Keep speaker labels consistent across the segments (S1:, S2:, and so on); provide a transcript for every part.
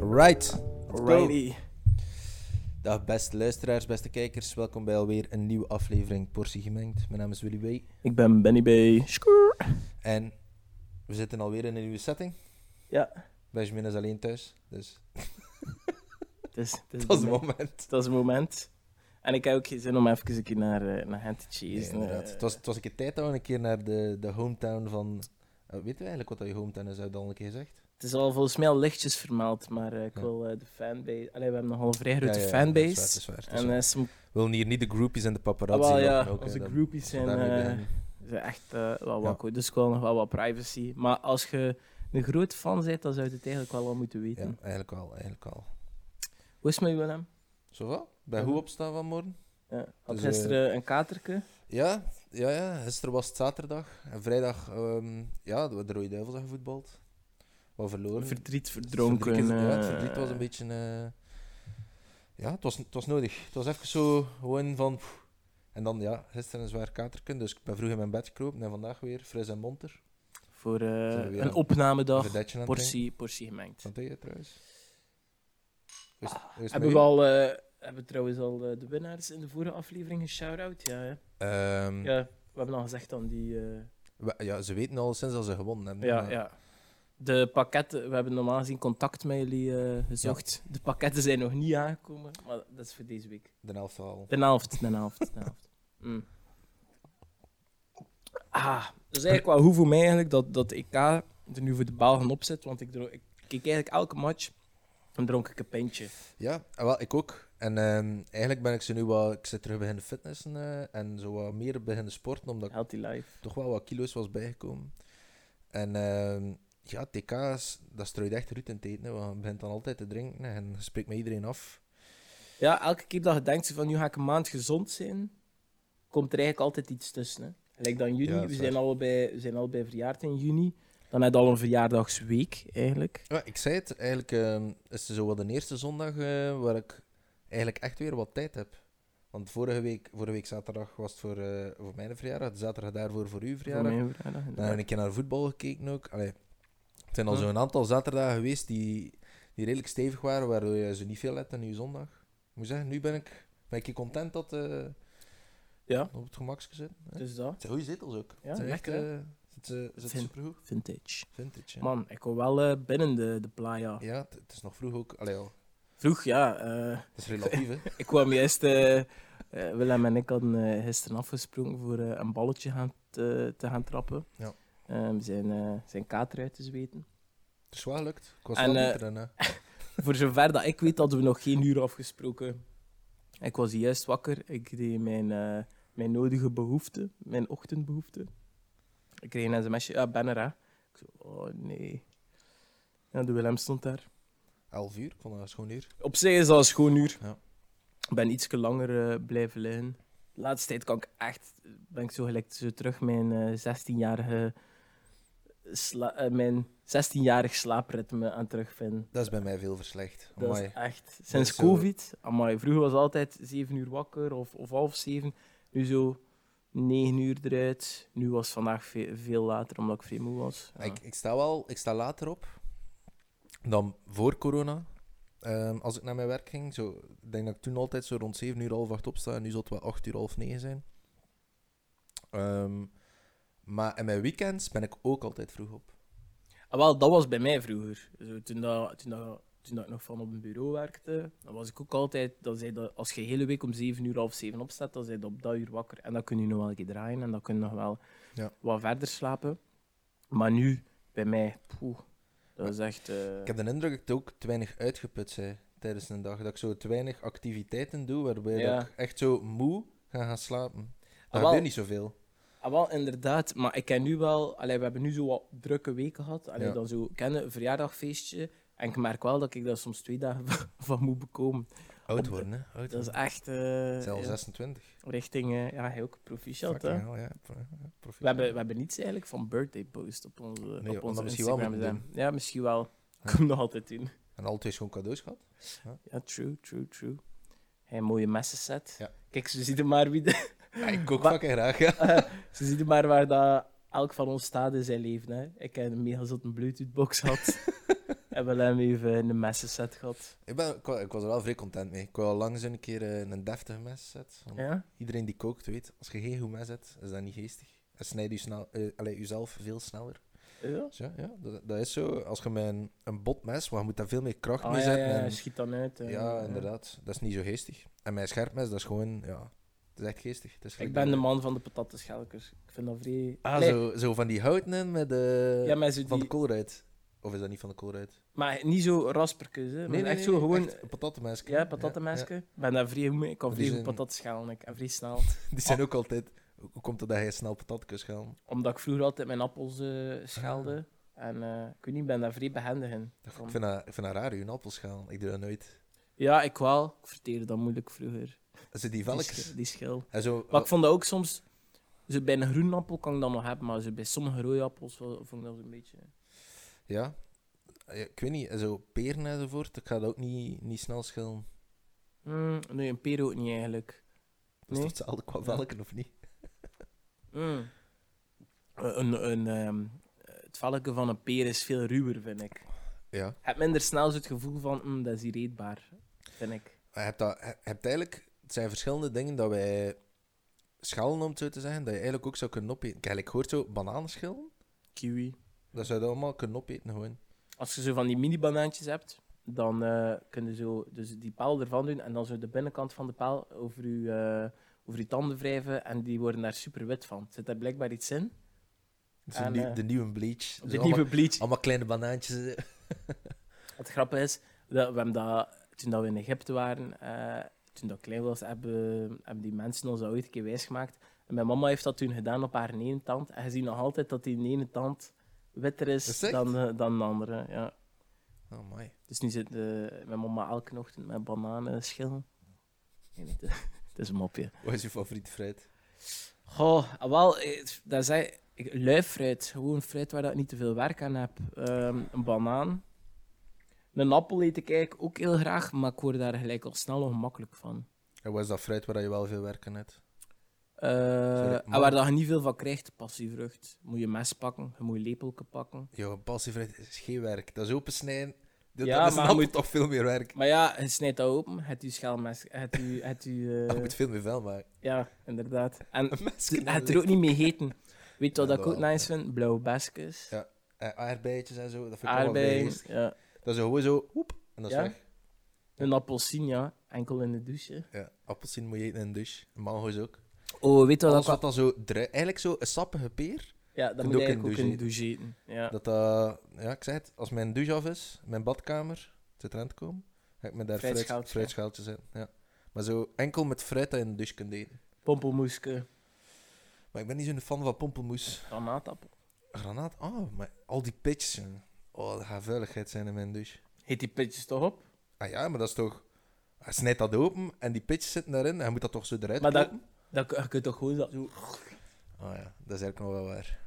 S1: Alright.
S2: Alrighty.
S1: Dag beste luisteraars, beste kijkers. Welkom bij alweer een nieuwe aflevering Portie Gemengd. Mijn naam is Willy Way.
S2: Ik ben Benny B. Skrrr.
S1: En we zitten alweer in een nieuwe setting.
S2: Ja,
S1: Benjamin is alleen thuis, dus
S2: het is, het
S1: dat is het moment.
S2: Dat is het moment. En ik heb ook geen zin om even een keer naar, eh, naar hen te
S1: Nee,
S2: cheesen.
S1: inderdaad.
S2: eh.
S1: het, was, het was een keer tijd dat we een keer naar de, de hometown van... Eh, weten we eigenlijk wat dat je hometown is? Heb je dat al een keer gezegd?
S2: het is al volgens mij al lichtjes vermeld, maar eh, ik
S1: Ja.
S2: wil eh, de fanbase... Allee, we hebben nogal een vrij grote
S1: Ja, ja, dat is waar, dat
S2: fanbase.
S1: is waar, dat is
S2: En
S1: waar.
S2: eh, ze mo-
S1: We willen hier niet de groupies en de paparazzi
S2: Ah, wel, ja,
S1: lopen ook,
S2: als
S1: hè.
S2: de
S1: Dat-
S2: groupies
S1: als we
S2: zijn,
S1: daarmee
S2: eh,
S1: beginnen.
S2: ze echt eh, wel
S1: Ja.
S2: wat goed. Dus ik wil nog wel wat privacy. Maar als je een groot fan bent, dan zou je het eigenlijk wel al moeten
S1: Ja,
S2: weten.
S1: eigenlijk al, eigenlijk al.
S2: Hoe is het met u, Willem?
S1: Zo wat? Bij
S2: Mhm.
S1: hoe opstaan vanmorgen?
S2: Ja. Had
S1: Dus, eh,
S2: gisteren een katerke?
S1: Ja, ja, ja, gisteren was het zaterdag. En vrijdag, ehm ja, de Rode Duivels hebben gevoetbald. Wat verloren.
S2: Verdriet,
S1: Het
S2: verdronken.
S1: verdriet is- ja, het
S2: eh,
S1: verdriet was een beetje... eh, ja, het was, het was nodig. Het was even zo gewoon van... pff. En dan, ja, gisteren een zwaar katerken, dus ik ben vroeg in mijn bed gekropen. En vandaag weer fris en monter.
S2: Voor eh,
S1: we weer
S2: een
S1: aan-
S2: opnamedag.
S1: Vedetje aan het drinken.
S2: Portie, portie gemengd.
S1: Van tegen, trouwens. Is- is
S2: Ah, Hebben we
S1: mee?
S2: al, eh, hebben we trouwens al eh, de winnaars in de vorige aflevering geshout-out? Ja, hè?
S1: Ehm,
S2: ja, we hebben al gezegd aan die. eh,
S1: we- ja, ze weten al sinds dat ze gewonnen hebben. eh,
S2: ja,
S1: maar-
S2: ja. De pakketten, we hebben normaal gezien contact met jullie eh, gezocht. De pakketten zijn nog niet aangekomen, maar dat is voor deze week.
S1: De helft al.
S2: De helft, de helft, de helft. Mm. Ah, dus eigenlijk wel hoe voor mij eigenlijk dat, dat EK er nu voor de Belgen op zit, want ik, dro- ik keek eigenlijk elke match en dronk ik een pintje.
S1: Ja, eh, wel, ik ook. En ehm, eigenlijk ben ik ze nu wat... Ik zit terug beginnen fitnessen eh, en zo wat meer beginnen sporten, omdat ik
S2: Healthy life.
S1: toch wel wat kilo's was bijgekomen. En ehm, ja, TK's, dat strooit echt ruut in het eten, hè, want je begint dan altijd te drinken hè, en je spreekt met iedereen af.
S2: Ja, elke keer dat je denkt van nu ga ik een maand gezond zijn, komt er eigenlijk altijd iets tussen. Hè. Gelijk dan
S1: Ja,
S2: juni,
S1: dat is
S2: we, zijn allebei, we zijn allebei verjaard in juni. Dan heb je al een verjaardagsweek eigenlijk.
S1: Ja, ik zei het, eigenlijk ehm, is het zo wel de eerste zondag eh, waar ik eigenlijk echt weer wat tijd heb. Want vorige week, vorige week zaterdag was het voor, eh, voor mijn verjaardag, de zaterdag daarvoor voor uw
S2: Voor
S1: verjaardag.
S2: mijn verjaardag.
S1: Dan heb ik een keer naar voetbal gekeken ook. Allee, het zijn al
S2: Hm.
S1: zo'n aantal zaterdagen geweest die, die redelijk stevig waren, waardoor je ze niet veel hebt aan je zondag. Ik moet zeggen, nu ben ik, ben ik content dat eh
S2: Ja,
S1: op het gemak gezet. hè.
S2: dus dat.
S1: Het zijn goede zetels ook.
S2: Ja,
S1: het zijn echt,
S2: lekker, hè?
S1: eh, het, eh, het
S2: Vind-
S1: is supergoed.
S2: Vintage.
S1: Vintage, ja.
S2: Man, ik kom wel eh, binnen de, de playa.
S1: Ja, het, het is nog vroeg ook. Allee, al,
S2: Vroeg, ja. eh,
S1: het is relatief, hè.
S2: ik kwam juist... eh, eh, Willem en ik hadden eh, gisteren afgesproken voor eh, een balletje gaan, te, te gaan trappen.
S1: Ja.
S2: Eh, zijn, eh, zijn kater uit te zweten.
S1: Het is wel gelukt. Ik was
S2: En,
S1: wel
S2: eh,
S1: beter in, hè.
S2: Voor zover dat ik weet, hadden we nog geen uur afgesproken. Ik was juist wakker. Ik deed mijn, eh, mijn nodige behoefte, mijn ochtendbehoefte. Ik kreeg een sms'je. Ja, ben er, hè. Ik zo, oh nee. Ja, de Willem stond daar.
S1: Elf uur, ik vond dat een schoon uur.
S2: Op zich is dat een schoon uur.
S1: Ja.
S2: Ik ben ietsje langer eh, blijven liggen. De laatste tijd kan ik echt... Ben ik zo gelijk zo terug mijn eh 16-jarige... sla- eh, mijn 16-jarig slaapritme aan terugvinden.
S1: Dat is bij mij veel verslecht.
S2: Dat
S1: Amai.
S2: is echt.
S1: is
S2: Sinds
S1: zo-
S2: COVID, amai, vroeger was altijd 7 uur wakker of, of half 7. Nu zo 9 uur eruit. Nu was vandaag ve- veel later omdat ik vrij moe was. Ja.
S1: Ik, ik sta wel ik sta later op dan voor corona. Ehm, als ik naar mijn werk ging, zo, ik denk dat ik toen altijd zo rond 7 uur half 8 opsta. En nu zal het wel 8 uur half 9 zijn. Ehm, maar in mijn weekends ben ik ook altijd vroeg op.
S2: Ah, wel, dat was bij mij vroeger. Zo, toen, dat, toen, dat, toen dat ik nog van op een bureau werkte, dan was ik ook altijd. Dan zei dat, als je de hele week om 7 uur half 7 opstaat, dan zijn je op dat uur wakker. En dan kun je nog wel een keer draaien en dan kun je nog wel
S1: Ja.
S2: wat verder slapen. Maar nu, bij mij, poeh, dat is echt. eh,
S1: Ik heb de indruk dat ik ook te weinig uitgeput ben tijdens een dag. Dat ik zo te weinig activiteiten doe, waarbij
S2: Ja.
S1: dat ik echt zo moe ga gaan slapen.
S2: Ah, wel.
S1: Dat gebeurt niet zoveel.
S2: Ah, wel, inderdaad. Maar ik ken nu wel... Allee, we hebben nu zo wat drukke weken gehad. Allee,
S1: Ja.
S2: dan zo kennen, een verjaardagfeestje. En ik merk wel dat ik daar soms twee dagen van, van moet bekomen.
S1: Oud
S2: Op-
S1: worden, hè. Oud
S2: Dat is
S1: worden.
S2: echt... eh,
S1: Zelf
S2: ja,
S1: 26.
S2: richting... eh, ja, hij ook proficiat, hè.
S1: Fucking hell, ja. Pro- ja, proficiat.
S2: We hebben, we hebben niets eigenlijk van birthday post op onze,
S1: we
S2: op onze
S1: dat misschien wel
S2: Instagram.
S1: moeten
S2: zijn. ja, misschien wel. Ik
S1: Ja.
S2: kom nog altijd in.
S1: En altijd gewoon cadeaus gehad.
S2: Ja, true, true, true. Hij een mooie messenset.
S1: Ja.
S2: Kijk, ze ziet er maar wie... de-
S1: Ja, ik ook
S2: Wa-
S1: fucking graag, ja.
S2: Ze ziet er maar waar dat elk van ons staat in zijn leven. Hè. Ik heb een mega zotte Bluetooth-box gehad. Hebben we hem even een messenset gehad.
S1: Ik, ben, ik, wa- ik was er wel vrij content mee. Ik wil al langs een keer eh, een deftige mes zetten. Want
S2: Ja?
S1: Iedereen die kookt weet, als je geen goed mes hebt, is dat niet geestig. En snijd je snel, eh, allee, jezelf veel sneller.
S2: Ja?
S1: Zo, ja, dat, dat is zo. Als je met een, een bot mes, want je moet daar veel meer kracht
S2: Ah,
S1: mee
S2: ja,
S1: zetten.
S2: ja,
S1: en-
S2: schiet dan uit. eh,
S1: ja, inderdaad. Dat is niet zo geestig. En mijn scherpmes, dat is gewoon, ja, het is echt geestig. Het is
S2: Ik
S1: gelijk
S2: ben de
S1: dat-
S2: man van de patateschelkers. Ik vind dat vrij...
S1: Ah,
S2: Nee,
S1: zo, zo van die houten in met de...
S2: Ja, maar, zo
S1: Van de
S2: die-
S1: koolruit. Of is dat niet van de koolruit?
S2: maar niet zo rasperkes, hè. maar echt zo gewoon...
S1: Echt een patatenmeisje.
S2: Ja, patatenmesken. Ik ben daar vrij goed mee. Ik kan
S1: Die
S2: vrij goed
S1: zijn-
S2: patat schalen. Ik en vrij snel.
S1: ja. Die
S2: Ah.
S1: zijn ook altijd... Hoe komt het dat hij snel patat kunt schalen?
S2: Omdat ik vroeger altijd mijn appels eh, schelde. En eh, ik weet niet, ik ben daar vrij behendig in.
S1: Ah. Ik vind dat, ik vind dat raar, uw appel schalen. Ik doe dat nooit.
S2: Ja, ik wel. Ik verteerde dat moeilijk vroeger.
S1: Ze die
S2: Die,
S1: velkjes.
S2: sch- die schil.
S1: En zo...
S2: Maar ik vond dat ook soms... Zo bij een groene appel kan ik dat nog hebben, maar zo bij sommige rode appels vo- vond ik dat een beetje...
S1: Ja. Ja, Ik weet niet, en zo peren enzovoort. Ik ga dat ook niet, niet snel schillen.
S2: Mm, nee, een peer ook niet eigenlijk. Nee.
S1: Dus Dat is toch hetzelfde qua velken, of niet?
S2: Mm. Een, een, ehm, het velken van een peer is veel ruwer, vind ik.
S1: Ja.
S2: Je hebt minder snel zo het gevoel van, mm, dat is hier eetbaar, vind ik.
S1: Maar Je hebt, dat, je hebt eigenlijk, het zijn verschillende dingen dat wij schalen, om het zo te zeggen, dat je eigenlijk ook zou kunnen opeten. Kijk, ik hoor zo bananenschillen,
S2: Kiwi.
S1: dat zou je allemaal kunnen opeten gewoon.
S2: Als je zo van die mini-banaantjes hebt, dan eh kun je zo dus die paal ervan doen en dan zo de binnenkant van de paal over je, eh, over je tanden wrijven en die worden daar super wit van. Zit daar blijkbaar iets in?
S1: Dus de
S2: En,
S1: nieuw-
S2: eh,
S1: de nieuwe bleach. Zo
S2: Op dit
S1: allemaal,
S2: nieuwe bleach.
S1: allemaal kleine banaantjes. eh.
S2: Het grappige is, dat we hebben dat, toen dat we in Egypte waren, eh, toen dat ik klein was, hebben, hebben die mensen ons dat ooit een keer wijsgemaakt. En mijn mama heeft dat toen gedaan op haar ene tand. En je ziet nog altijd dat die ene tand witter is,
S1: Is het echt?
S2: dan, de- dan de andere. Ja.
S1: Oh, my.
S2: Dus nu zit eh, mijn mama elke ochtend met bananen schillen. Nee, het, het is een mopje.
S1: Wat is je favoriete fruit?
S2: Goh, ah, wel, eh, dat zei ik, luifruit. Gewoon fruit waar dat ik niet te veel werk aan heb. Ehm, een banaan. Een appel eet ik eigenlijk ook heel graag, maar ik word daar gelijk al snel ongemakkelijk van.
S1: En wat is dat fruit waar je wel veel werk aan hebt?
S2: Eh, en
S1: man.
S2: waar dat je niet veel van krijgt, passievrucht. Moet je mes pakken, je moet je lepelke pakken.
S1: Yo, passievruit is geen werk. Dat is opensnijden. Dat,
S2: Ja,
S1: dat is
S2: maar je
S1: een appel
S2: moet-
S1: toch veel meer werk.
S2: Maar ja, je snijdt dat open, het je schelmes, het je... Het je eh,
S1: Je moet veel meer vuil maken.
S2: ja, inderdaad. En
S1: Een mes
S2: je
S1: kunnen
S2: hebt er ook
S1: liggen.
S2: niet mee gegeten. Weet je wat
S1: Ja,
S2: ik
S1: dat
S2: ook
S1: wel,
S2: nice vind? Blauwe besjes,
S1: Ja, Eh, aardbeidjes en zo, dat vind ik allemaal vrij
S2: aardbeien,
S1: geestig.
S2: ja.
S1: Dat is gewoon zo, hoep, en dat is
S2: Ja?
S1: weg.
S2: een appelsien, ja. Enkel in de douche.
S1: Ja, appelsien moet je eten in een douche. Mango's ook.
S2: Oh, weet je wat
S1: Alles
S2: ik wel-
S1: wat dan zo dru- eigenlijk zo een sappige peer,
S2: Ja, dat
S1: kunt
S2: moet
S1: ook
S2: je eigenlijk ook
S1: in
S2: in de
S1: de
S2: douche eten. Ja.
S1: dat dat, ja, ik zei het, als mijn douche af is, mijn badkamer, het zit eraan te komen, ga ik me daar fruit-
S2: Fruitschaaltje.
S1: fruitschaaltje zetten. Ja. Maar zo enkel met fruit dat je in de douche kunt eten.
S2: Pompelmoeske,
S1: Maar ik ben niet zo'n fan van pompelmoes.
S2: granaatappel.
S1: Granaat, oh, maar al die pitjes, jongen. Oh, dat gaat vuiligheid zijn in mijn douche.
S2: Heet die pitjes toch op?
S1: Ah ja, maar dat is toch, hij snijdt dat open en die pitjes zitten daarin, hij moet dat toch zo eruit
S2: Maar dat-
S1: kloppen?
S2: Dan kun je kunt toch gewoon dat zo...
S1: Oh ja, dat is eigenlijk nog wel waar.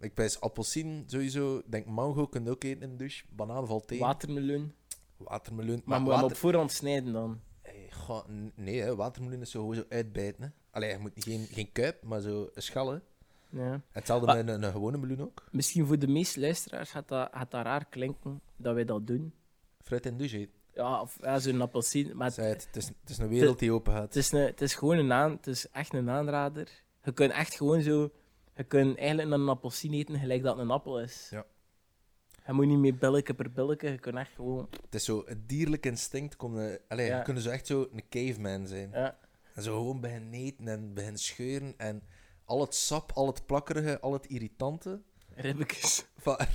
S1: Ik pijs appelsien sowieso. Ik Denk mango kun je ook eten in de douche. Banaan valt tegen.
S2: Watermeloen.
S1: Watermeloen.
S2: Maar moet je hem op voorhand snijden dan?
S1: Hey, goh, n- nee, hè. watermeloen is zo gewoon zo uitbijten. Hè. Allee, je moet geen, geen kuip, maar zo een schal. Hè.
S2: Ja.
S1: Hetzelfde
S2: Maar-
S1: met een, een gewone meloen ook.
S2: Misschien voor de meeste luisteraars gaat dat, gaat dat raar klinken dat wij dat doen.
S1: Fruit in douche eten.
S2: Ja, of ja, zo'n appelsien. Maar het,
S1: Zei het, het, is, het is een wereld die open gaat.
S2: het is een, het is gewoon een aan... Het is echt een aanrader. Je kunt echt gewoon zo... Je kunt eigenlijk een appelsien eten gelijk dat een appel is.
S1: Ja.
S2: Je moet niet meer billetje per billetje. Je kunt echt gewoon...
S1: Het is zo, het dierlijk instinct. Komt, eh, allee,
S2: Ja.
S1: je kunnen zo echt zo een caveman zijn.
S2: Ja.
S1: En zo gewoon beginnen eten en beginnen scheuren. En al het sap, al het plakkerige, al het irritante.
S2: Ribbekes.
S1: Van...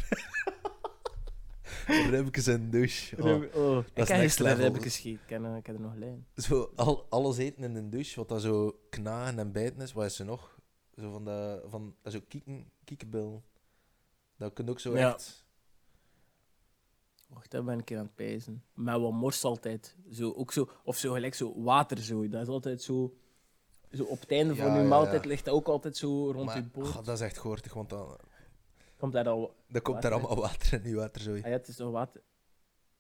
S1: Remkes en douche. Oh.
S2: Oh. ik
S1: is
S2: heb
S1: next
S2: gisteren
S1: level.
S2: heb ik ik ken, eh, ik heb er nog lijn.
S1: Zo, al, alles eten in een douche, wat dat zo knagen en bijten is. Wat is er nog? Zo van, de, van dat zo kieken, kiekenbil. Dat kun je ook zo
S2: Ja.
S1: echt...
S2: Wacht, daar ben ik een keer aan het pijzen. Maar wat mors altijd. Zo, ook zo, of zo gelijk zo waterzooi. Dat is altijd zo... Zo op het einde
S1: Ja,
S2: van uw
S1: ja,
S2: maaltijd
S1: ja.
S2: ligt dat ook altijd zo rond
S1: Maar,
S2: uw boord.
S1: ah, dat is echt goortig, want dan,
S2: Komt daar al...
S1: dan komt daar
S2: Water.
S1: allemaal water in je water, zo
S2: Ah ja, het is toch water?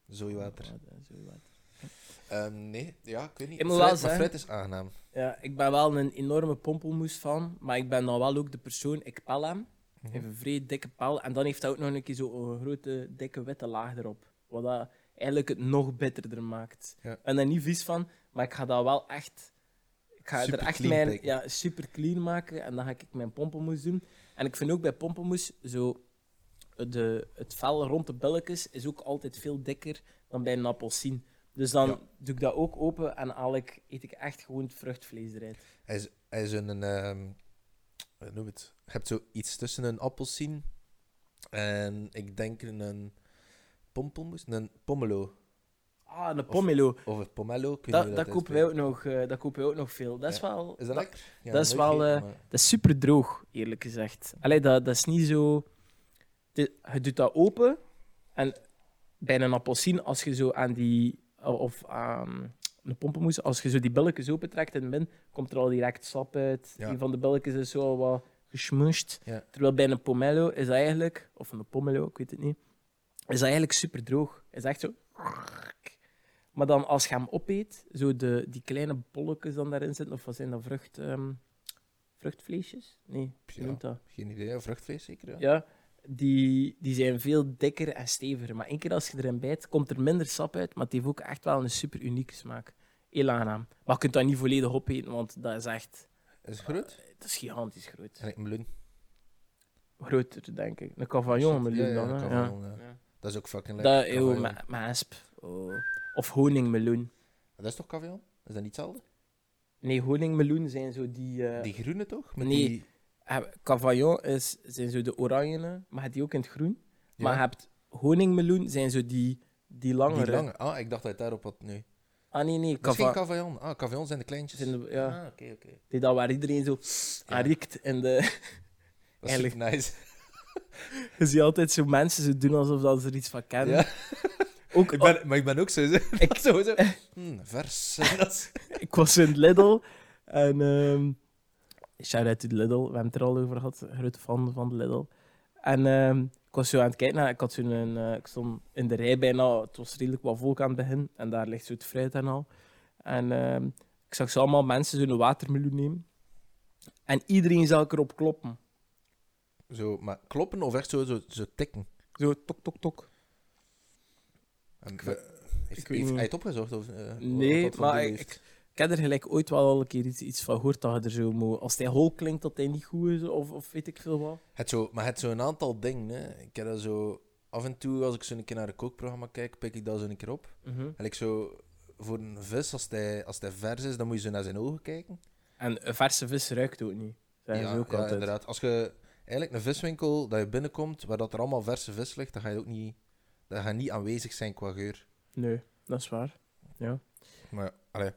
S1: Zooi water.
S2: Zooi water.
S1: Ehm, nee, ja, ik weet niet.
S2: Ik moet wel
S1: Fruit- maar
S2: zeggen-
S1: fruit is aangenaam.
S2: Ja, ik ben wel een enorme pompelmoes van, maar ik ben dan wel ook de persoon, ik pel hem.
S1: Mhm.
S2: Even een vrij dikke pel. En dan heeft hij ook nog een keer zo'n grote, dikke witte laag erop. Wat dat eigenlijk het nog bitterder maakt.
S1: Ja.
S2: En daar niet vies van, maar ik ga dat wel echt... Ik ga
S1: Super
S2: er echt
S1: clean
S2: mijn...
S1: pikken.
S2: Ja, super clean maken. En dan ga ik mijn pompenmoes doen. En ik vind ook bij pompenmoes zo... De, het vel rond de billetjes is ook altijd veel dikker dan bij een appelsien. Dus dan
S1: Ja.
S2: doe ik dat ook open en haal ik, eet ik echt gewoon het vruchtvlees eruit.
S1: Hij is, hij is een, een ehm, hoe noem je het? Je hebt zoiets tussen een appelsien en ik denk een- een pompelmoes, een pomelo.
S2: Ah, een pomelo.
S1: Of een pomelo, kun
S2: Dat,
S1: je
S2: dat,
S1: dat
S2: kopen wij
S1: uitspreken.
S2: ook nog, eh, dat kopen wij ook nog veel. Dat is wel...
S1: Is dat lekker? Ja,
S2: dat is
S1: nooit
S2: wel, eh,
S1: gegeten, maar-
S2: Dat is super droog, eerlijk gezegd. Allee, dat, dat is niet zo. Het is- je doet dat open en bij een appelsien, als je zo aan die. of aan een pompenmoes, als je zo die billetjes opentrekt en binnen, komt er al direct sap uit.
S1: Ja.
S2: Die van de billetjes is zo al wat gesmushed.
S1: Ja.
S2: Terwijl bij een pomelo is dat eigenlijk. of een pomelo, ik weet het niet. Is dat eigenlijk super droog. Is echt zo. Maar dan als je hem opeet, zo de, die kleine bolletjes dan daarin zitten, of wat zijn dat vrucht, ehm, vruchtvleesjes? Nee, hoe
S1: Ja.
S2: noemt dat?
S1: Geen idee, ja, vruchtvlees zeker? Ja.
S2: Ja, die, die zijn veel dikker en steviger. Maar één keer als je erin bijt, komt er minder sap uit, maar het heeft ook echt wel een super unieke smaak. Heel aangenaam. Maar je kunt dat niet volledig opeten, want dat is echt...
S1: Is het groot?
S2: Het is gigantisch groot.
S1: Gelijk meloen.
S2: Groter, denk ik. Een cavaillon
S1: Shit,
S2: meloen
S1: ja, ja,
S2: dan, hè.
S1: een
S2: Ja.
S1: cavaillon, ja.
S2: Ja.
S1: Dat is ook fucking lekker.
S2: Dat, eeuw,
S1: cavaillon.
S2: met met asp. Oh. Of honingmeloen.
S1: Dat is toch cavion? Is dat niet hetzelfde?
S2: Nee, honingmeloen zijn zo die... eh,
S1: Die groene toch? Met
S2: Nee.
S1: die-
S2: heb- Cavaillon is, zijn zo de oranje, maar het die ook in het groen.
S1: Ja,
S2: Maar je hebt honingmeloen, zijn zo die, die langere.
S1: Die lange. Ah, ik dacht dat het daarop had nu.
S2: Ah nee, nee,
S1: Dat is geen
S2: cava-
S1: cavaillon. Ah, cavaillon zijn de kleintjes.
S2: zijn de- ja,
S1: Ah, oké, oké.
S2: die dat waar iedereen zo aan riekt. En de,
S1: Dat is super nice.
S2: je ziet altijd zo mensen zo doen alsof dat ze er iets van kennen.
S1: Ja.
S2: Ook,
S1: Ik ben, maar ik ben ook zo. zo,
S2: Ik- Eh.
S1: zo, zo. Hm, vers. Dat is-
S2: ik was in Lidl en ehm shout-out to Lidl, we hebben het er al over gehad, grote fan van Lidl. En ehm, ik was zo aan het kijken, naar- ik, had zo'n, eh, ik stond in de rij bijna, het was redelijk wat volk aan het begin en daar ligt zo het fruit en al. En ehm, ik zag zo allemaal mensen zo'n watermeloen nemen en iedereen zou ik erop kloppen.
S1: zo, maar kloppen of echt zo, zo, zo tikken?
S2: Zo tok tok tok.
S1: En,
S2: Ik
S1: eh,
S2: weet-
S1: heeft,
S2: ik weet
S1: heeft
S2: niet.
S1: hij het opgezocht? Of, eh, wat
S2: Nee,
S1: dat voor
S2: maar
S1: doel
S2: ik-
S1: heeft?
S2: Ik heb er gelijk ooit wel al een keer iets, iets van gehoord dat je er zo moet... Als hij hol klinkt, dat hij niet goed is of, of weet ik veel wat.
S1: Het zo, maar het zo een aantal dingen. Hè. Ik heb dat zo... Af en toe, als ik zo een keer naar een kookprogramma kijk, pik ik dat zo een keer op. En ik zo... Voor een vis, als hij, als hij vers is, dan moet je zo naar zijn ogen kijken.
S2: En een verse vis ruikt ook niet. Dat is ook altijd.
S1: inderdaad. Als je eigenlijk een viswinkel, dat je binnenkomt, waar dat er allemaal verse vis ligt, dan ga je ook niet... Dat gaat niet aanwezig zijn qua geur.
S2: Nee, dat is waar.
S1: Maar, allee.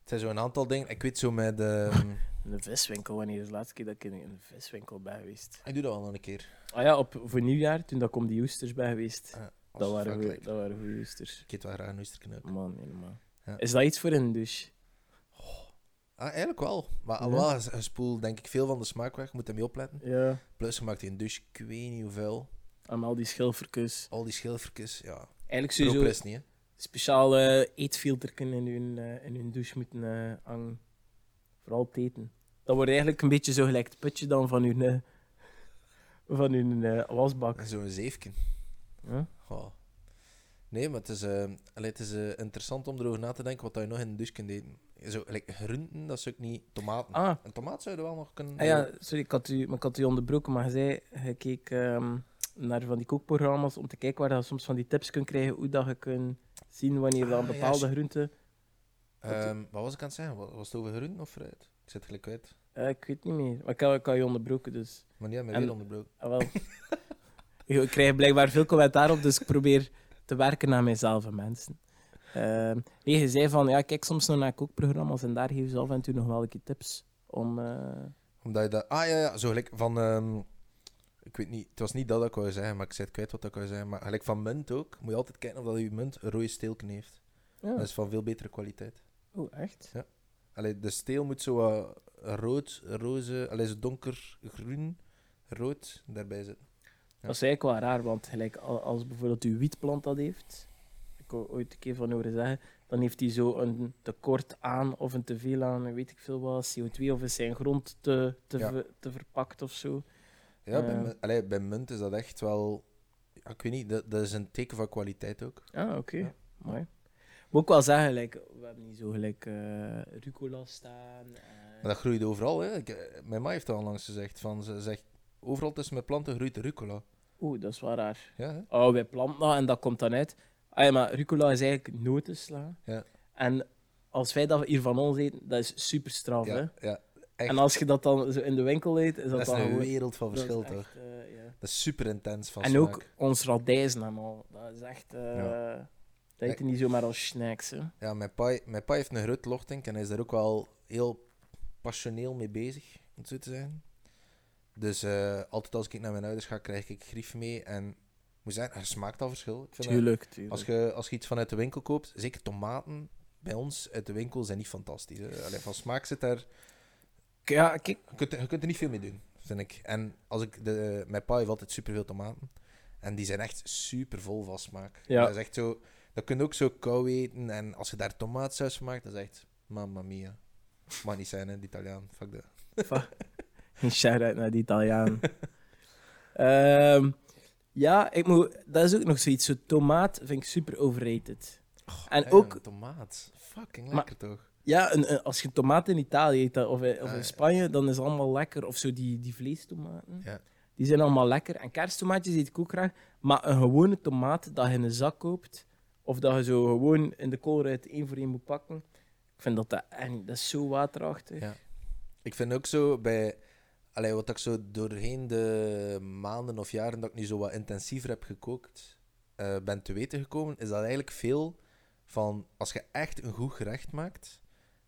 S1: Het zijn zo een aantal dingen. Ik weet zo met... ehm,
S2: In de viswinkel, wanneer is de laatste keer dat ik in een viswinkel ben geweest?
S1: ik doe dat wel nog een keer.
S2: Ah ja, op, voor nieuwjaar, toen dat om die oesters ben geweest.
S1: Ah, Als
S2: dat,
S1: fuck
S2: waren goeie,
S1: lekker.
S2: dat waren goede oesters.
S1: Ik eet wel graag een oesterknoop.
S2: Man, helemaal.
S1: Ja.
S2: Is dat iets voor een douche?
S1: Ah, eigenlijk wel. Maar
S2: Ja.
S1: alhoewel, je- je spoelt denk ik veel van de smaak weg. Je moet ermee opletten.
S2: Ja.
S1: Plus, je maakt die een douche, ik weet niet hoeveel.
S2: En al die schilferkus.
S1: Al die schilfertjes, ja.
S2: Eigenlijk
S1: Pro
S2: sowieso
S1: plus niet, hè.
S2: speciaal eh, eetfilter kunnen in hun, eh, in hun douche moeten eh, hangen. Vooral het eten. Dat wordt eigenlijk een beetje zo gelijk het putje dan van hun, eh, van hun eh, wasbak.
S1: En Zo'n zeefje.
S2: Ja?
S1: Oh. Nee, maar het is, eh, allee, het is eh, interessant om erover na te denken wat dat je nog in de douche kunt eten. Zo, like, groenten, dat is ook niet... Tomaten.
S2: Ah,
S1: Een tomaat zou je wel nog kunnen...
S2: Ah ja, sorry, ik had, u, maar ik had u onderbroken, maar je zei, je keek ehm, naar van die kookprogramma's om te kijken waar je soms van die tips kunt krijgen, hoe dat je kunt zien wanneer dan
S1: Ah, ja,
S2: bepaalde
S1: shit.
S2: groenten...
S1: Ehm, wat was ik aan het zeggen? Wa- Was het over groenten of fruit? Ik zit het gelijk kwijt.
S2: Eh, ik weet niet meer, maar ik had, ik had je onderbroken, dus...
S1: Maar ja, mij
S2: En-
S1: weer onderbroken.
S2: Ah, wel. ik krijg blijkbaar veel commentaar op, dus ik probeer te werken aan mijzelf en mensen. Ehm, nee, je zei van, ja, ik kijk soms nog naar kookprogramma's en daar geven ze af en toe nog wel een keer tips om... eh,
S1: Omdat je dat... Ah ja, ja zo gelijk van... ehm, ik weet niet, het was niet dat ik wou zeggen, maar ik zit kwijt wat ik wou zeggen. Maar gelijk van munt ook, moet je altijd kijken of dat je munt een rode steelken heeft.
S2: ja.
S1: Dat is van veel betere kwaliteit.
S2: Oh, echt?
S1: Allee, de steel moet zo wat rood, roze... Allee, zo donker, groen, rood daarbij zitten. Ja.
S2: Dat is eigenlijk wel raar, want gelijk al- als bijvoorbeeld uw wietplant dat heeft, ik heb ooit een keer van horen zeggen, dan heeft hij zo een tekort aan of een teveel aan, weet ik veel wat, CO2 of is zijn grond te, te,
S1: Ja.
S2: ver- te verpakt of zo.
S1: Ja,
S2: Ja.
S1: Bij, mun- allee, bij munt is dat echt wel Ja, ik weet niet, dat, dat is een teken van kwaliteit ook.
S2: Ah, oké.
S1: Ja.
S2: Mooi. Moet ik wel zeggen, like, we hebben niet zo gelijk eh, rucola staan. eh,
S1: Maar dat groeit overal. Hè. Ik, eh, mijn ma heeft dat onlangs gezegd. Van, ze zegt, overal tussen mijn planten groeit rucola.
S2: Oeh, dat is wel raar.
S1: Ja, hè?
S2: Oh, wij planten dat en dat komt dan uit. Ah ja, maar rucola is eigenlijk notensla.
S1: Ja.
S2: En als wij dat hier van ons eten, dat is super straf, hè?
S1: ja, ja. echt.
S2: En als je dat dan zo in de winkel eet, is dat,
S1: Dat is
S2: dan
S1: een
S2: gewoon...
S1: wereld van
S2: dat is
S1: verschil,
S2: echt,
S1: toch?
S2: eh, ja.
S1: Dat is super intens van
S2: En
S1: smaak.
S2: ook ons radijzen en al. Dat is echt... eh Dat eet je niet zomaar als snacks, hè?
S1: Ja, mijn pa, mijn pa heeft een groot lochtink en hij is daar ook wel heel passioneel mee bezig, om het zo te zijn. Dus eh, altijd als ik naar mijn ouders ga, krijg ik grief mee. En ik moet zeggen, er smaakt al verschil. Ik vind dat-
S2: Tuurlijk, tuurlijk.
S1: als, je, als je iets vanuit de winkel koopt, zeker tomaten, bij ons uit de winkel zijn niet fantastisch. hè. Allee, van smaak zit daar...
S2: Ja, kijk.
S1: Je kunt, er- je kunt er niet veel mee doen, vind ik. En als ik de, mijn pa heeft altijd superveel tomaten. En die zijn echt super vol van smaak.
S2: Ja.
S1: Dat is echt zo... Dat kun je ook zo kou eten. En als je daar tomaatsaus van maakt, dat is echt... Mamma mia. Mag niet zijn, hè, de Italiaan. Fuck dat.
S2: Een shout-out naar de Italiaan. Ehm, ja, ik moet, dat is ook nog zoiets. Zo, tomaat vind ik super overrated. En
S1: Oh, Ja,
S2: ook-
S1: Tomaat. Fucking
S2: Maar-
S1: lekker, toch?
S2: Ja, een, een- als je tomaat in Italië eet dat- of, in- of
S1: Ah, ja.
S2: in Spanje, dan is het allemaal lekker. Of zo die, die vleestomaten.
S1: Ja.
S2: Die zijn allemaal lekker. En kersttomaatjes eet ik ook graag. Maar een gewone tomaat dat je in een zak koopt, of dat je zo gewoon in de koolruit één voor één moet pakken, ik vind dat dat echt niet... Dat is zo waterachtig.
S1: Ja. Ik vind ook zo bij... Allee, wat ik zo doorheen de maanden of jaren dat ik nu zo wat intensiever heb gekookt, eh, ben te weten gekomen, is dat eigenlijk veel van... Als je echt een goed gerecht maakt,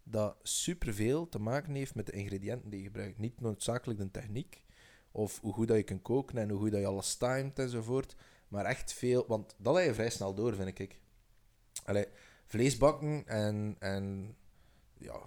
S1: dat superveel te maken heeft met de ingrediënten die je gebruikt. Niet noodzakelijk de techniek, of hoe goed dat je kunt koken en hoe goed dat je alles timed enzovoort. Maar echt veel... Want dat leid je vrij snel door, vind ik. Allee, vlees bakken en, en ja,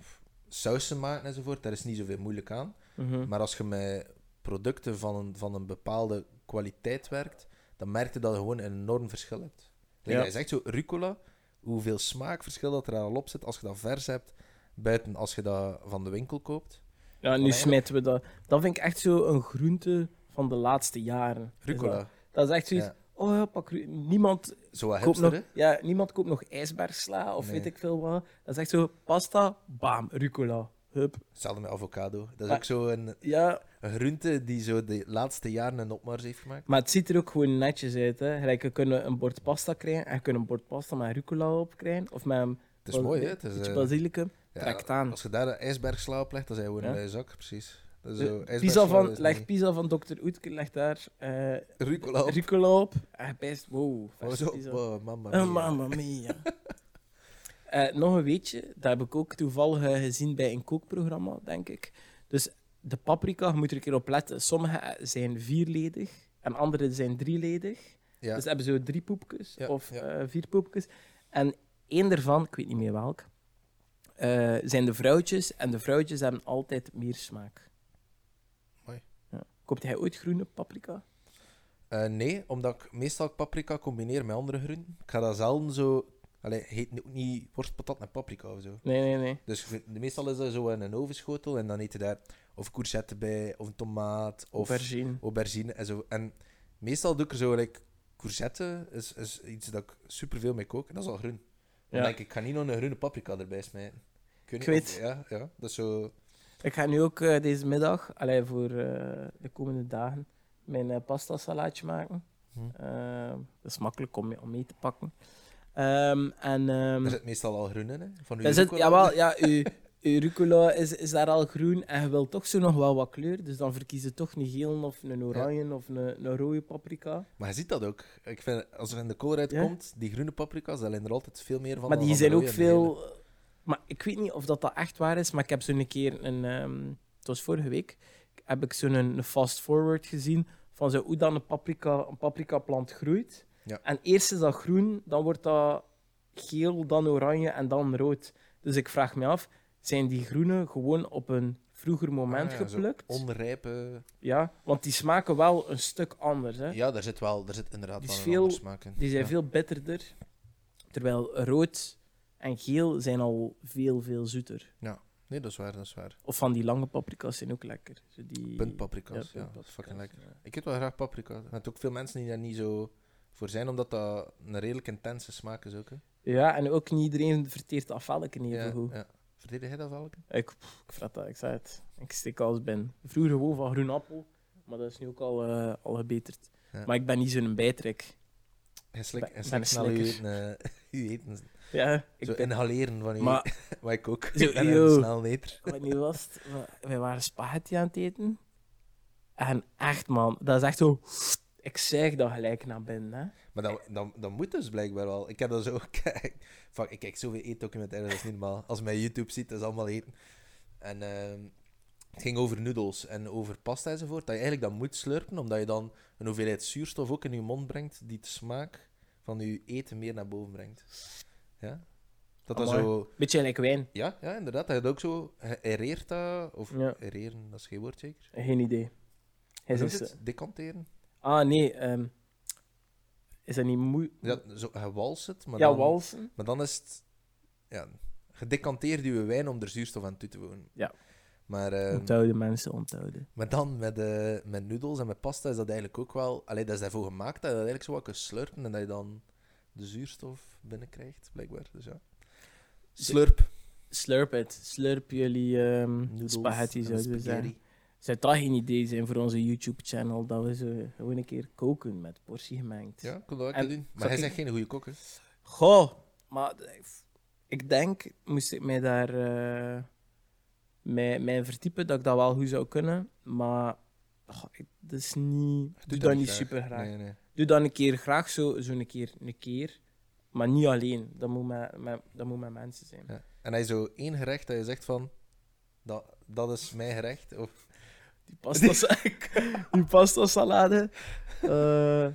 S1: sausen maken enzovoort, daar is niet zoveel moeilijk aan.
S2: Mhm.
S1: Maar als je met producten van een, van een bepaalde kwaliteit werkt, dan merk je dat je gewoon een enorm verschil hebt.
S2: Ja.
S1: Like, Dat is echt zo, rucola, hoeveel smaakverschil dat er al op zit als je dat vers hebt, buiten als je dat van de winkel koopt.
S2: Ja, nu
S1: eigenlijk-
S2: smijten we dat. Dat vind ik echt zo een groente van de laatste jaren. Is
S1: Rucola,
S2: Dat, dat is echt zoiets.
S1: Ja.
S2: Oh ja, pak ru- niemand
S1: zo wat
S2: koopt,
S1: hipster,
S2: nog,
S1: hè?
S2: ja, niemand koopt nog ijsbergsla of
S1: Nee.
S2: weet ik veel wat. Dat is echt zo pasta, bam, rucola. Hup.
S1: Hetzelfde met avocado. Dat is
S2: Maar-
S1: ook zo een,
S2: Ja,
S1: een groente die zo de laatste jaren een opmars heeft gemaakt.
S2: maar het ziet er ook gewoon netjes uit. Hè. Gelijk, je kunt een bord pasta krijgen en je kunt een bord pasta met rucola op krijgen. Of met een
S1: Het is mooi, hè? Het is,
S2: beetje
S1: eh,
S2: basilicum.
S1: ja,
S2: Trekt aan.
S1: als je daar een ijsbergsla op legt, dan zijn we gewoon
S2: Ja.
S1: een luie zak, precies. Dat is
S2: Eh,
S1: zo,
S2: Pizza
S1: ijsbergsla
S2: van,
S1: is
S2: leg
S1: niet-
S2: pizza van Dr. Oetker, leg daar eh,
S1: Rucola op.
S2: rucola op. En je bijst, wow,
S1: Oh,
S2: verse
S1: zo,
S2: pizza.
S1: wow, mamma
S2: Oh,
S1: mia.
S2: mamma mia. Eh, nog een weetje, dat heb ik ook toevallig eh, gezien bij een kookprogramma, denk ik. Dus de paprika, je moet er een keer op letten. Sommige eh, zijn vierledig en andere zijn drieledig.
S1: Ja.
S2: Dus ze hebben zo drie poepjes
S1: Ja,
S2: of
S1: ja.
S2: eh, vier poepjes. En één daarvan, ik weet niet meer welk, eh, zijn de vrouwtjes. En de vrouwtjes hebben altijd meer smaak.
S1: Mooi.
S2: Ja. Koopt jij ooit groene paprika?
S1: Eh, nee, omdat ik meestal paprika combineer met andere groenten. Ik ga dat zelden zo... Allee, heet ook niet worstpatat met paprika of zo.
S2: Nee, nee, nee.
S1: Dus je- meestal is dat zo in een ovenschotel en dan eet je daar of courgette bij, of een tomaat, of
S2: Aubergine.
S1: aubergine en zo. En meestal doe ik er zo, like, courgette is, is iets dat ik superveel mee kook. En dat is al groen. Dan
S2: Ja.
S1: denk ik, ik ga niet nog een groene paprika erbij smijten. weet
S2: Ik
S1: niet
S2: weet.
S1: of- Ja, ja, dat is zo...
S2: Ik ga nu ook eh, deze middag, allee, voor eh, de komende dagen, mijn eh, pasta salaatje maken.
S1: Hm.
S2: Ehm, dat is makkelijk om, mee- om mee te pakken. Ehm, en ehm
S1: Er zit meestal al groen in, hè? Van uw
S2: daar zit,
S1: rucola.
S2: jawel, ja, uw, uw rucola is, is daar al groen en je wilt toch zo nog wel wat kleur. Dus dan verkies je toch een geel of een oranje of een, een rode paprika.
S1: Maar je ziet dat ook. Ik vind, als er in de koolruit
S2: Ja?
S1: komt, die groene paprika's, daar zijn er altijd veel meer van.
S2: maar die
S1: dan van
S2: zijn
S1: de
S2: ook
S1: rode en de
S2: veel. Maar ik weet niet of dat, dat echt waar is, maar ik heb zo een keer een. ehm, het was vorige week. Heb ik zo'n een fast forward gezien van zo hoe dan een paprika, een paprika plant groeit.
S1: Ja.
S2: En eerst is dat groen, dan wordt dat geel, dan oranje en dan rood. Dus ik vraag me af, zijn die groene gewoon op een vroeger
S1: hele.
S2: moment
S1: Ah, ja, zo
S2: geplukt?
S1: Onrijpe.
S2: Ja, want die smaken wel een stuk anders. Hè?
S1: Ja, daar zit wel, daar zit inderdaad
S2: Die
S1: wel
S2: is
S1: een
S2: veel-
S1: ander smaak in.
S2: Die zijn
S1: Ja.
S2: veel bitterder. Terwijl rood en geel zijn al veel, veel zoeter.
S1: Nee, dat is waar, dat is waar.
S2: Of van die lange paprika's zijn ook lekker. Zo die...
S1: Puntpaprika's, ja,
S2: puntpaprika's,
S1: dat is fucking lekker.
S2: ja.
S1: Ik eet wel graag paprika. Er zijn ook veel mensen die daar niet zo voor zijn, omdat dat een redelijk intense smaak is ook. Hè.
S2: Ja, en ook niet iedereen verteert dat velken even
S1: Ja,
S2: goed.
S1: ja. Verdedig jij dat velken?
S2: Ik, pff, ik fret dat, ik zei het. Ik steek alles binnen. Vroeger gewoon van groen appel, maar dat is nu ook al, eh, al gebeterd.
S1: Ja.
S2: Maar ik ben niet zo'n bijtrek.
S1: Hij slikt
S2: Ben- ben
S1: hij slikt
S2: een
S1: snel je eten,
S2: slikker.
S1: eh, je eten.
S2: Ja,
S1: Zo
S2: ik ben...
S1: inhaleren van je
S2: Maar
S1: Wat ik ook.
S2: Zo,
S1: ik ben
S2: yo.
S1: een snel neter.
S2: wanneer was het? We- Wij waren spaghetti aan het eten. En echt, man, dat is echt zo... Ik zeg dat gelijk naar binnen, hè.
S1: Maar dat, dat, dat moet dus blijkbaar wel. Ik heb dat zo... Kijk, fuck, ik kijk zoveel eetdocumentaires, dat is niet normaal. Als je mij YouTube ziet, dat is allemaal eten. En ehm, het ging over noedels en over pasta enzovoort. Dat je eigenlijk dat moet slurpen, omdat je dan een hoeveelheid zuurstof ook in je mond brengt, die de smaak van je eten meer naar boven brengt. Ja? Dat dat
S2: Amai.
S1: zo...
S2: Beetje gelijk wijn.
S1: Ja, ja, inderdaad. Dat je dat ook zo... Ereert dat... Of
S2: Ja.
S1: ereren, dat is geen woord zeker.
S2: Geen idee. Hij
S1: Hoe noemt
S2: zegt,
S1: het? Decanteren?
S2: Ah, nee. ehm, is dat niet moe...
S1: Ja, zo, je wals het, maar
S2: ja,
S1: dan...
S2: walsen.
S1: Maar dan is het... Ja, gedecanteerd uw wijn om er zuurstof aan toe te wonen.
S2: Ja.
S1: Maar, ehm,
S2: onthouden, mensen, onthouden.
S1: maar dan met, eh, met noedels en met pasta is dat eigenlijk ook wel... Allee, dat is daarvoor gemaakt dat je dat eigenlijk zo wat kunt slurpen en dat je dan de zuurstof binnenkrijgt, blijkbaar. Dus ja. Slurp.
S2: Slurp het. Slurp jullie ehm
S1: Noedels
S2: spaghetti,
S1: en
S2: zouden we zeggen.
S1: spaghetti.
S2: Zou dat geen idee zijn voor onze YouTube-channel, dat we ze gewoon een keer koken met portie gemengd?
S1: Ja, ik kon dat ook
S2: En-
S1: doen.
S2: zou
S1: Maar hij
S2: ik-
S1: zegt geen goede kok, hè.
S2: Goh, maar d- ik denk, moest ik mij daar eh mij, mij in verdiepen, dat ik dat wel goed zou kunnen. Maar goh, ik, dat is niet, doe,
S1: Doe
S2: dat, niet super graag.
S1: Nee, nee.
S2: Doe dat een keer graag, zo, zo een keer, een keer. Maar niet alleen, dat moet met, met, dat moet met mensen zijn.
S1: Ja. En hij is zo één gerecht dat je zegt van... Dat, dat is mijn gerecht. Of,
S2: Die pasta, die pasta salade. Eh,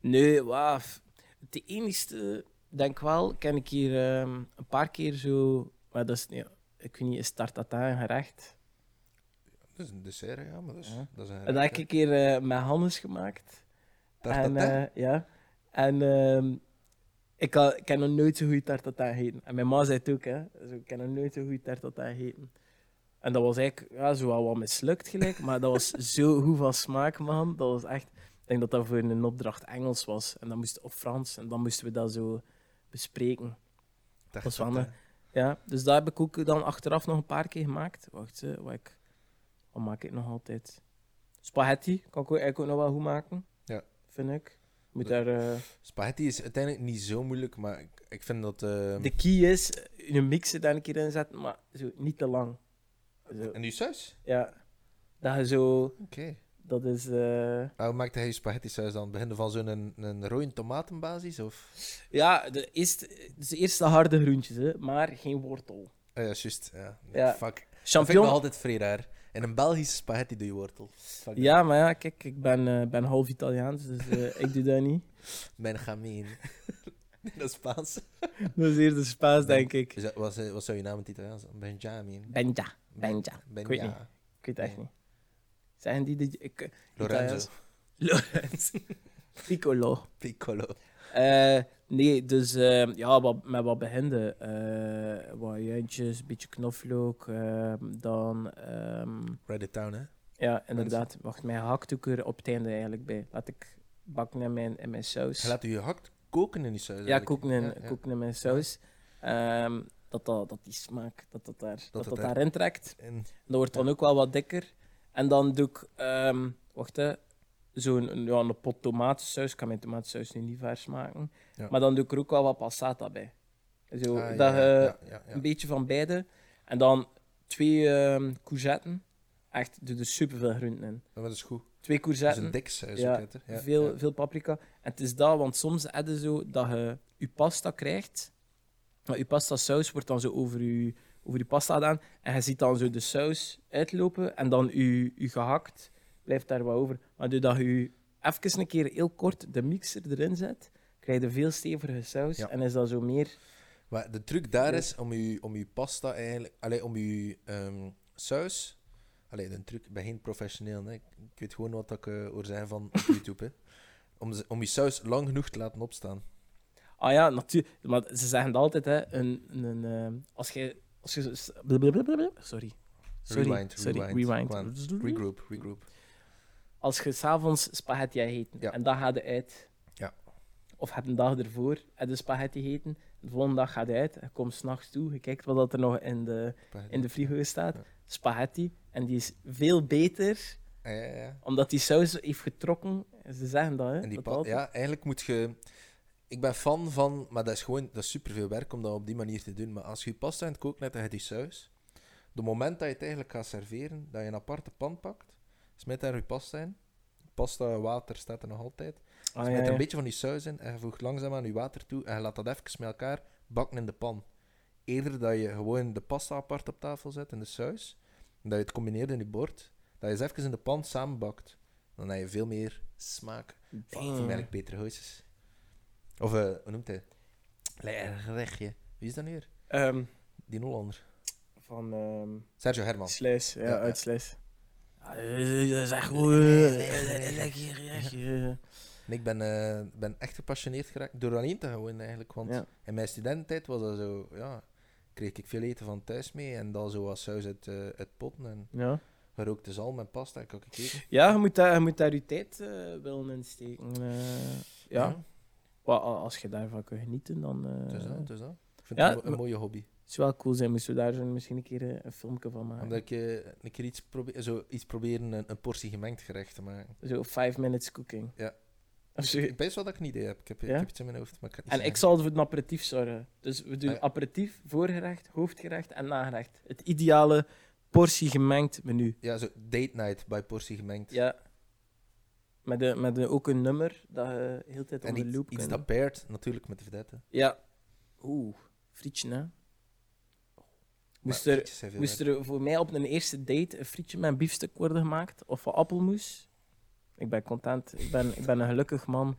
S2: nee, waaf. Het enige, denk ik wel, ken ik hier ehm, een paar keer zo. Maar dat is, ja, ik weet niet, is tartata een gerecht?
S1: dat is een dessert, ja, maar dat is,
S2: Ja.
S1: dat is een
S2: dat
S1: gerecht,
S2: heb ik een keer eh, met Hannes gemaakt.
S1: hè. Tartatin.
S2: En, eh, ja. En ehm, ik, had, ik heb nog nooit zo'n goede tartata gegeten. En mijn ma zei het ook, hè. Zo, ik heb nog nooit zo'n goede tartata gegeten. En dat was eigenlijk ja, zo wel wat mislukt gelijk, maar dat was zo goed van smaak, man. Dat was echt... Ik denk dat dat voor een opdracht Engels was. En dan moest, of Frans. En dan moesten we dat zo bespreken.
S1: Dat eh,
S2: is wel een- Ja, dus dat heb ik ook dan achteraf nog een paar keer gemaakt. Wacht, eh, wat, ik, wat maak ik nog altijd? Spaghetti kan ik ook- eigenlijk ook nog wel goed maken.
S1: Ja.
S2: Vind ik. Moet
S1: Dat-
S2: daar, eh,
S1: Spaghetti is uiteindelijk niet zo moeilijk, maar ik, ik vind dat... eh,
S2: de key is, eh, een mixer daar een keer in zetten, maar zo, niet te lang. Zo,
S1: En die saus?
S2: ja. Dat je zo...
S1: Oké.
S2: Dat is... eh,
S1: Nou, maakte hij je spaghetti saus dan? Beginnen van zo'n een, een rode tomatenbasis? Of...
S2: ja, de eerste, dus de eerste harde groentjes, hè, maar geen wortel.
S1: Ah ja, juist. Ja.
S2: Ja.
S1: Fuck. Dat vind ik nog
S2: Champignon...
S1: altijd vredaar. In een Belgische spaghetti doe je wortel. Fuck dat.
S2: Ja, maar ja, kijk, ik ben, eh, ben half Italiaans, dus eh, ik doe dat niet.
S1: Benjamin. dat is Spaans.
S2: Dat is eerder Spaans, denk ik.
S1: Is dat- Wat, zou- wat zou je naam in het Italiaans zijn? Benjamin.
S2: Benja. Benja.
S1: Ben-
S2: ik weet
S1: Benja.
S2: Ik weet het echt niet. Zijn die de... Ik,
S1: Lorenzo.
S2: Lorenz. Piccolo.
S1: Piccolo.
S2: Eh, nee, dus eh, ja, wat, met wat beginnen. eh wat juintjes, een beetje knoflook. eh, dan, ehm,
S1: Reddit Town, hè?
S2: ja, inderdaad. Wacht, mijn hakt ook er op het einde eigenlijk bij. Laat ik bakken in mijn, in mijn saus.
S1: Je laat je hakt koken in die saus.
S2: ja,
S1: eigenlijk.
S2: koeken in,
S1: Ja, ja.
S2: koeken in mijn saus. Ehm, dat, dat, dat die smaak, dat dat, daar, dat, dat,
S1: dat daar-
S2: daarin trekt.
S1: En
S2: Dat wordt dan ook wel wat dikker. En dan doe ik, ehm, wacht hè, zo'n een- ja, een pot tomatensaus. Ik kan mijn tomatensaus nu niet vers maken.
S1: Ja.
S2: Maar dan doe ik er ook wel wat passata bij. Zo,
S1: Ah, ja,
S2: dat je
S1: ja, ja, ja, ja.
S2: een beetje van beide. En dan twee ehm, courgetten. Echt, doe er superveel groenten in.
S1: Maar Dat is goed.
S2: Twee
S1: Dat is
S2: courgetten,
S1: een dik saus.
S2: Ja,
S1: ook, hè, toch? Ja,
S2: veel,
S1: ja.
S2: veel paprika. En het is dat, want soms heb je zo dat je je pasta krijgt. Maar je pasta saus wordt dan zo over je, over je pasta gedaan. En je ziet dan zo de saus uitlopen. En dan je, je gehakt blijft daar wat over. Maar doordat je even een keer heel kort de mixer erin zet, krijg je veel stevige saus.
S1: Ja.
S2: En is dat zo meer...
S1: Maar de truc daar
S2: Ja.
S1: is om je, om je pasta eigenlijk, allee, om je ehm, saus. Allee, de truc, ik ben geen professioneel, hè. ik ik weet gewoon wat ik eh, hoor zeggen van op YouTube. Hè. Om, ze- om je saus lang genoeg te laten opstaan.
S2: Ah ja, natuurlijk. Maar ze zeggen dat altijd, hè. Een, een, een, ehm, als je... Als je zo- blablabla- sorry. Sorry,
S1: Rewind,
S2: sorry,
S1: rewind.
S2: rewind.
S1: Regroup, regroup.
S2: als je s'avonds spaghetti eet
S1: Ja.
S2: en dan gaat het uit.
S1: Ja.
S2: Of heb een dag ervoor de spaghetti gegeten. De volgende dag gaat hij uit. Je komt s'nachts toe. Je kijkt wat dat er nog in de, in de frigo staat.
S1: Ja.
S2: Spaghetti. En die is veel beter
S1: Ah, Ja, ja, ja.
S2: omdat die saus heeft getrokken. Ze zeggen dat, hè?
S1: En die
S2: dat
S1: pa-
S2: altijd.
S1: ja, eigenlijk moet je. Ik ben fan van, maar dat is gewoon dat is superveel werk om dat op die manier te doen. Maar als je je pasta in het kooknet en je die saus, de moment dat je het eigenlijk gaat serveren, dat je een aparte pan pakt, smijt daar je pasta in. Pasta, water staat er nog altijd.
S2: Ah,
S1: smijt
S2: ja,
S1: er
S2: ja.
S1: een beetje van die saus in en je voegt langzaam aan je water toe en je laat dat even met elkaar bakken in de pan. Eerder dat je gewoon de pasta apart op tafel zet en de saus, en dat je het combineert in je bord, dat je ze even in de pan samenbakt. Dan heb je veel meer smaak.
S2: Damn.
S1: Voor mij eigenlijk Peter Hooses. Of, eh, hoe noemt hij? Lijrechtje. Wie is dat nu weer?
S2: Ehm,
S1: Die Hollander.
S2: van ehm
S1: Sergio Herman.
S2: Slijs, ja,
S1: Ja, ja.
S2: uit Slijs. Ah, Dat is echt
S1: En ik ben, eh, ben echt gepassioneerd geraakt door aan één te houden eigenlijk. Want
S2: Ja.
S1: in mijn studententijd was dat zo, ja, kreeg ik veel eten van thuis mee. En dan zo was saus uit, eh uit potten en
S2: Ja.
S1: gerookte zalm en pasta. Ik ook eten.
S2: ja, je moet daar, je moet daar je tijd eh willen insteken. eh. ja, Wa- a- als je daarvan kunt genieten, dan... eh,
S1: Het is dat, het is dat. Ik vind
S2: Ja,
S1: het een, mo- een
S2: maar-
S1: mooie hobby.
S2: Het zou wel cool zijn, moesten we daar zo misschien een keer eh, een filmpje van maken.
S1: Omdat ik eh, een keer iets, probeer, zo, iets proberen, een, een portie gemengd gerecht te maken.
S2: Zo, five minutes cooking.
S1: Ja. Dus
S2: Of zo.
S1: Ik weet wel dat ik een idee heb. Ik heb,
S2: Ja?
S1: ik heb iets in mijn hoofd, maar ik kan het niet
S2: En ik
S1: zeggen.
S2: zal voor een aperitief zorgen. Dus we doen
S1: Ah, ja.
S2: aperitief, voorgerecht, hoofdgerecht en nagerecht. Het ideale portie gemengd menu.
S1: Ja, zo date night bij portie gemengd.
S2: Ja. Met, de, met de, ook een nummer dat je heel de tijd
S1: En
S2: onder de
S1: iets,
S2: loop
S1: iets
S2: kunt.
S1: dat paired natuurlijk met de vedette.
S2: Ja. Oeh, frietje, hè. Moest
S1: Maar
S2: er,
S1: frietjes zijn veel
S2: moest
S1: werk.
S2: er voor mij op een eerste date een frietje met een biefstuk worden gemaakt? Of wat appelmoes? Ik ben content. Ik ben, ik ben een gelukkig man.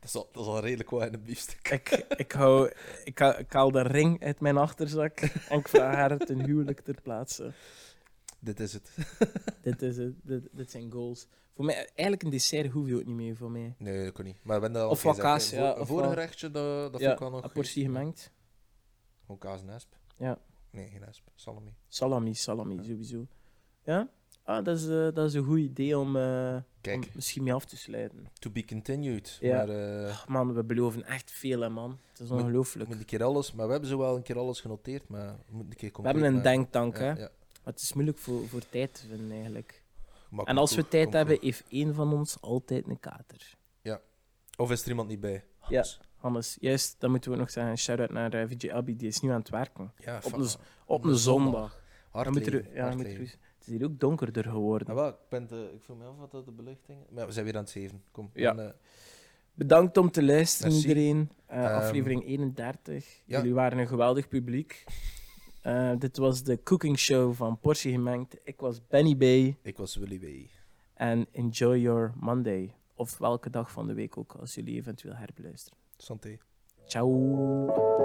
S1: dat, is al, dat is al redelijk wat in een biefstuk.
S2: Ik, ik, hou, ik, ha- ik haal de ring uit mijn achterzak en ik vraag haar ten huwelijk ter plaatse.
S1: Dit is het.
S2: Dit, is het, dit, dit zijn goals. Voor mij, eigenlijk een dessert hoef je ook niet meer voor mij.
S1: Nee, dat kon niet. Maar we hebben dat al
S2: Of wat
S1: gezegd, hè.
S2: kaas, ja,
S1: Voor,
S2: of
S1: vorige
S2: wat-
S1: rechtje, dat, dat
S2: ja,
S1: vond ik wel nog...
S2: een portie
S1: goed.
S2: gemengd.
S1: Gewoon kaas en esp.
S2: Ja.
S1: Nee, geen esp. Salami.
S2: Salami, salami, sowieso. Ja? Ah, dat is, eh, dat is een goed idee om, eh, om
S1: Kijk,
S2: misschien mee af te sluiten.
S1: to be continued.
S2: Ja.
S1: Maar eh,
S2: Ach, man, we beloven echt veel, hè, man. Het is
S1: Moet- we
S2: ongelooflijk.
S1: moeten een keer alles... Maar we hebben zo wel een keer alles genoteerd, maar we moeten een keer
S2: We
S1: concreet
S2: hebben een
S1: maken.
S2: denktank, hè.
S1: Ja, ja.
S2: Maar het is moeilijk voor, voor tijd te vinden, eigenlijk.
S1: Maar
S2: En
S1: komt
S2: als we
S1: goed,
S2: tijd
S1: komt
S2: hebben,
S1: goed.
S2: heeft één van ons altijd een kater.
S1: Of is er iemand niet bij?
S2: Ja. Hannes, juist, dat moeten we nog zeggen. Shout-out naar eh, VJ Abi, die is nu aan het werken.
S1: Ja,
S2: Op
S1: fa-
S2: een z- Op
S1: Op
S2: een
S1: een
S2: zondag.
S1: hard
S2: Dan moet er-
S1: leven,
S2: ja,
S1: hard
S2: dan moet er-
S1: leven.
S2: het is hier ook donkerder
S1: Ah,
S2: geworden.
S1: wel, ik, ben te- ik voel me af wat dat de belichting... Maar we zijn weer aan het zeven. Kom. we
S2: Ja.
S1: gaan, eh,
S2: Bedankt om te luisteren,
S1: Merci.
S2: iedereen. Eh,
S1: Ehm,
S2: aflevering 31.
S1: ja.
S2: Jullie waren een geweldig publiek. Eh, dit was de cooking show van Portie Gemengd. Ik was Benny B.
S1: ik was Willy B.
S2: En enjoy your Monday. Of welke dag van de week ook, als jullie eventueel herbeluisteren.
S1: Santé.
S2: Ciao.